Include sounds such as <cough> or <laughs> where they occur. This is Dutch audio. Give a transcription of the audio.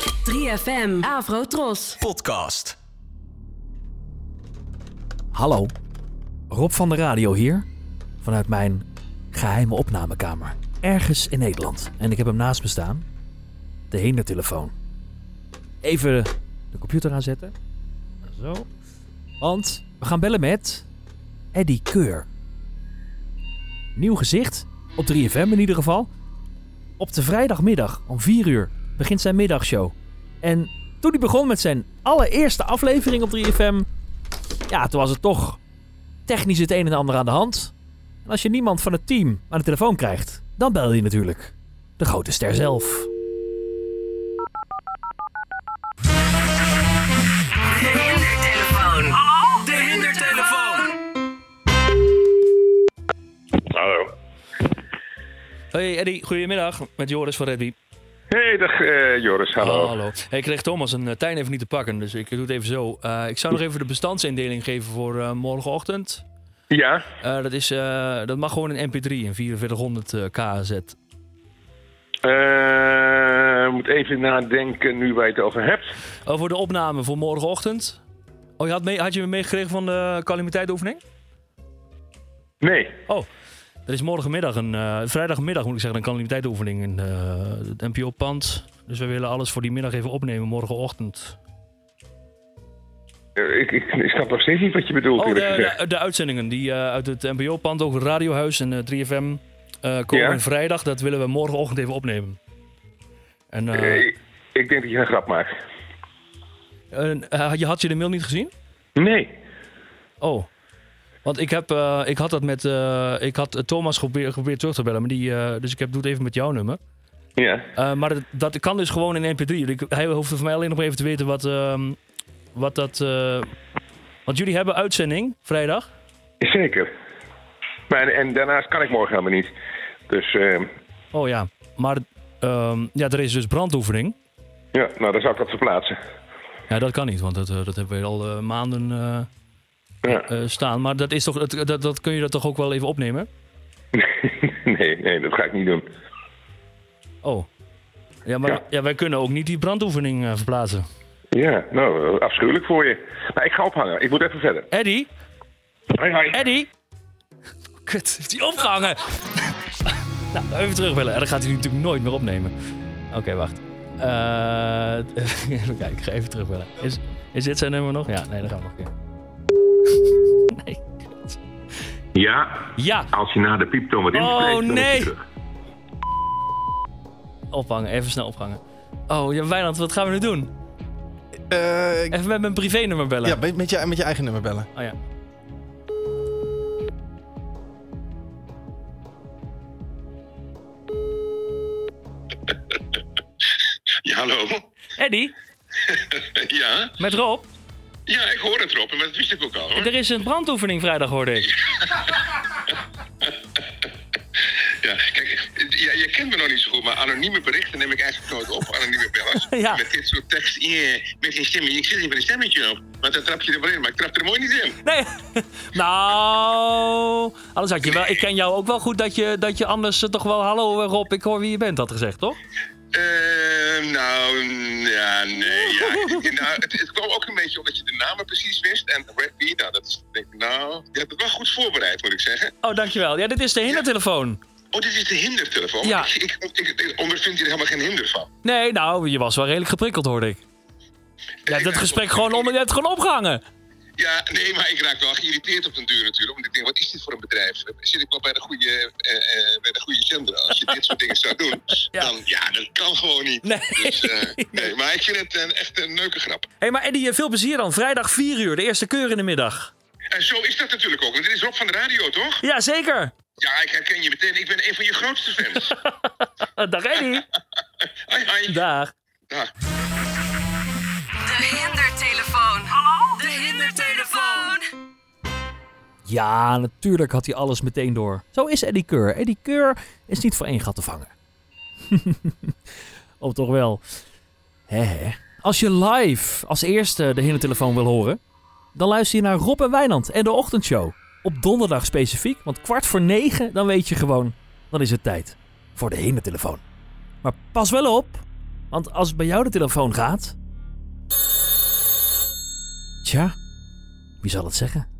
3FM, Avro Tros. Podcast. Hallo, Rob van de Radio hier, vanuit mijn geheime opnamekamer, ergens in Nederland. En ik heb hem naast me staan, de hindertelefoon. Even de computer aanzetten. Zo. Want we gaan bellen met Eddy Keur. Nieuw gezicht, op 3FM in ieder geval. Op de vrijdagmiddag om 4 uur begint zijn middagshow. En toen hij begon met zijn allereerste aflevering op 3FM, ja, toen was het toch technisch het een en ander aan de hand. En als je niemand van het team aan de telefoon krijgt, dan bel je natuurlijk de grote ster zelf. De hindertelefoon. Hallo. Hey Eddie, goedemiddag. Met Joris van Redby. Hey, dag eh, Joris, hallo. hallo. Hey, ik kreeg Thomas een eh, tuin even niet te pakken, dus ik doe het even zo. Eh, ik zou nog even de bestandsindeling geven voor eh, morgenochtend. Ja, Eh, dat, is, eh, dat mag gewoon een mp3, een 4400 eh, KZ. Eh, moet even nadenken nu waar je het over hebt. Oh, voor de opname voor morgenochtend. Oh, je had, mee, had je meegekregen van de calamiteitoefening? Nee, Oh, er is morgenmiddag, een, eh, vrijdagmiddag moet ik zeggen, een calamiteitoefening in eh, het NPO-pand. Dus we willen alles voor die middag even opnemen morgenochtend. Eh, ik, ik, ik snap nog steeds niet wat je bedoelt, Oh, eerlijk de, gezegd. de, de uitzendingen die eh, uit het NPO-pand, ook het Radiohuis en eh, 3FM eh, komen Ja. vrijdag. Dat willen we morgenochtend even opnemen. En, eh, Eh, ik- ik denk dat je een grap maakt. en, eh, je had je de mail niet gezien? Nee. Oh. Want ik, heb, eh, ik had dat met. eh, ik had eh, Thomas geprobeerd, geprobeerd terug te bellen. Maar die, eh, dus ik heb, doe het even met jouw nummer. Ja. Eh, maar dat, dat kan dus gewoon in MP3. Ik- Hij hoeft van mij alleen nog even te weten wat, ehm, wat dat. eh, want jullie hebben uitzending vrijdag. Zeker. Maar, en, en daarnaast kan ik morgen helemaal niet. Dus eh, Oh ja. Maar ehm, ja, er is dus brandoefening. ja, nou, dan zou ik dat verplaatsen. Ja, dat kan niet, want dat, eh, dat hebben we al eh, maanden eh, Ja. eh, staan. Maar dat is toch, dat, dat, dat kun je dat toch ook wel even opnemen? <laughs> nee, nee, dat ga ik niet doen. Oh. Ja, maar Ja. ja. wij kunnen ook niet die brandoefening eh, verplaatsen. Ja, nou, eh, afschuwelijk voor je. Maar ik ga ophangen. Ik moet even verder. Eddie? Hoi, hoi. Eddie? <laughs> Kut, heeft hij opgehangen? <laughs> nou, even terugbellen. En dan gaat hij natuurlijk nooit meer opnemen. Oké, wacht. Eh <laughs> even kijken, ik ga even terugbellen. Is, is dit zijn nummer nog? Ja, nee, dat gaan we nog een keer. nee. Ja, Ja, als je na de pieptoon wat Oh, inspreekt, dan is hij nee. terug. ophangen. Even snel ophangen. Oh, ja, Wijnand, wat gaan we nu doen? Eh, ik- Even met mijn privé-nummer bellen. ja, met, met je, met je eigen nummer bellen. Oh ja. Ja, hallo. Eddie, Ja? met Rob. Ja, ik hoor het erop, maar dat wist ik ook al hoor. Er is een brandoefening vrijdag, hoorde ik. Ja, kijk, ja, je kent me nog niet zo goed, maar anonieme berichten neem ik eigenlijk nooit op, anonieme bellers. <laughs> Ja. Met dit soort tekst, eh, met een stemmetje, ik zit hier met een stemmetje op. Want dan trap je er wel in, maar ik trap er mooi niet in. Nee. <laughs> Nou, anders had je wel. Ik ken jou ook wel goed dat je, dat je anders eh, toch wel. Hallo eh, Rob, ik hoor wie je bent, had gezegd, toch? Ehm, nou, mm, ja, nee, ja. <laughs> Nou, het, het kwam ook een beetje omdat je de namen precies wist. En Redby, nou, dat is, denk ik, nou, je hebt het wel goed voorbereid, moet ik zeggen. Oh, dankjewel. Ja, dit is de hindertelefoon. Oh, dit is de hindertelefoon. Ja. Ik, ik, ik, ik ondervind hier helemaal geen hinder van. Nee, nou, je was wel redelijk geprikkeld, hoorde ik. Je hebt Ik het raak gesprek op- gewoon, om, je hebt het gewoon opgehangen. Ja, nee, maar ik raak wel geïrriteerd op den duur natuurlijk. Want ik denk, wat is dit voor een bedrijf? Zit ik wel bij de goede, eh, eh, bij de goede zender? Als je dit soort dingen zou doen, <laughs> Ja. dan ja, dat kan gewoon niet. <laughs> Nee. Dus, eh, nee, maar ik vind het een, echt een leuke grap. Hé, maar Eddie, eh, veel plezier dan. Vrijdag 4 uur, de eerste keur in de middag. En zo is dat natuurlijk ook. Want dit is Rob van de radio, toch? Ja, zeker. <laughs> Ja, ik herken je meteen. Ik ben een van je grootste fans. Eh, Dag Eddie. Hoi, hoi. Ah. Dag. Dag. De hindertelefoon. Hallo? De hindertelefoon. Ja, natuurlijk had hij alles meteen door. Zo is Eddie Keur. Eddie Keur is niet voor één gat te vangen. <laughs> Of toch wel? Hè, hè. Als je live als eerste de hindertelefoon wil horen, dan luister je naar Rob en Wijnand en de ochtendshow. Op donderdag specifiek, want kwart voor negen, dan weet je gewoon, dan is het tijd voor de hindertelefoon. Maar pas wel op, Want als bij jou de telefoon gaat. Tja, wie zal het zeggen?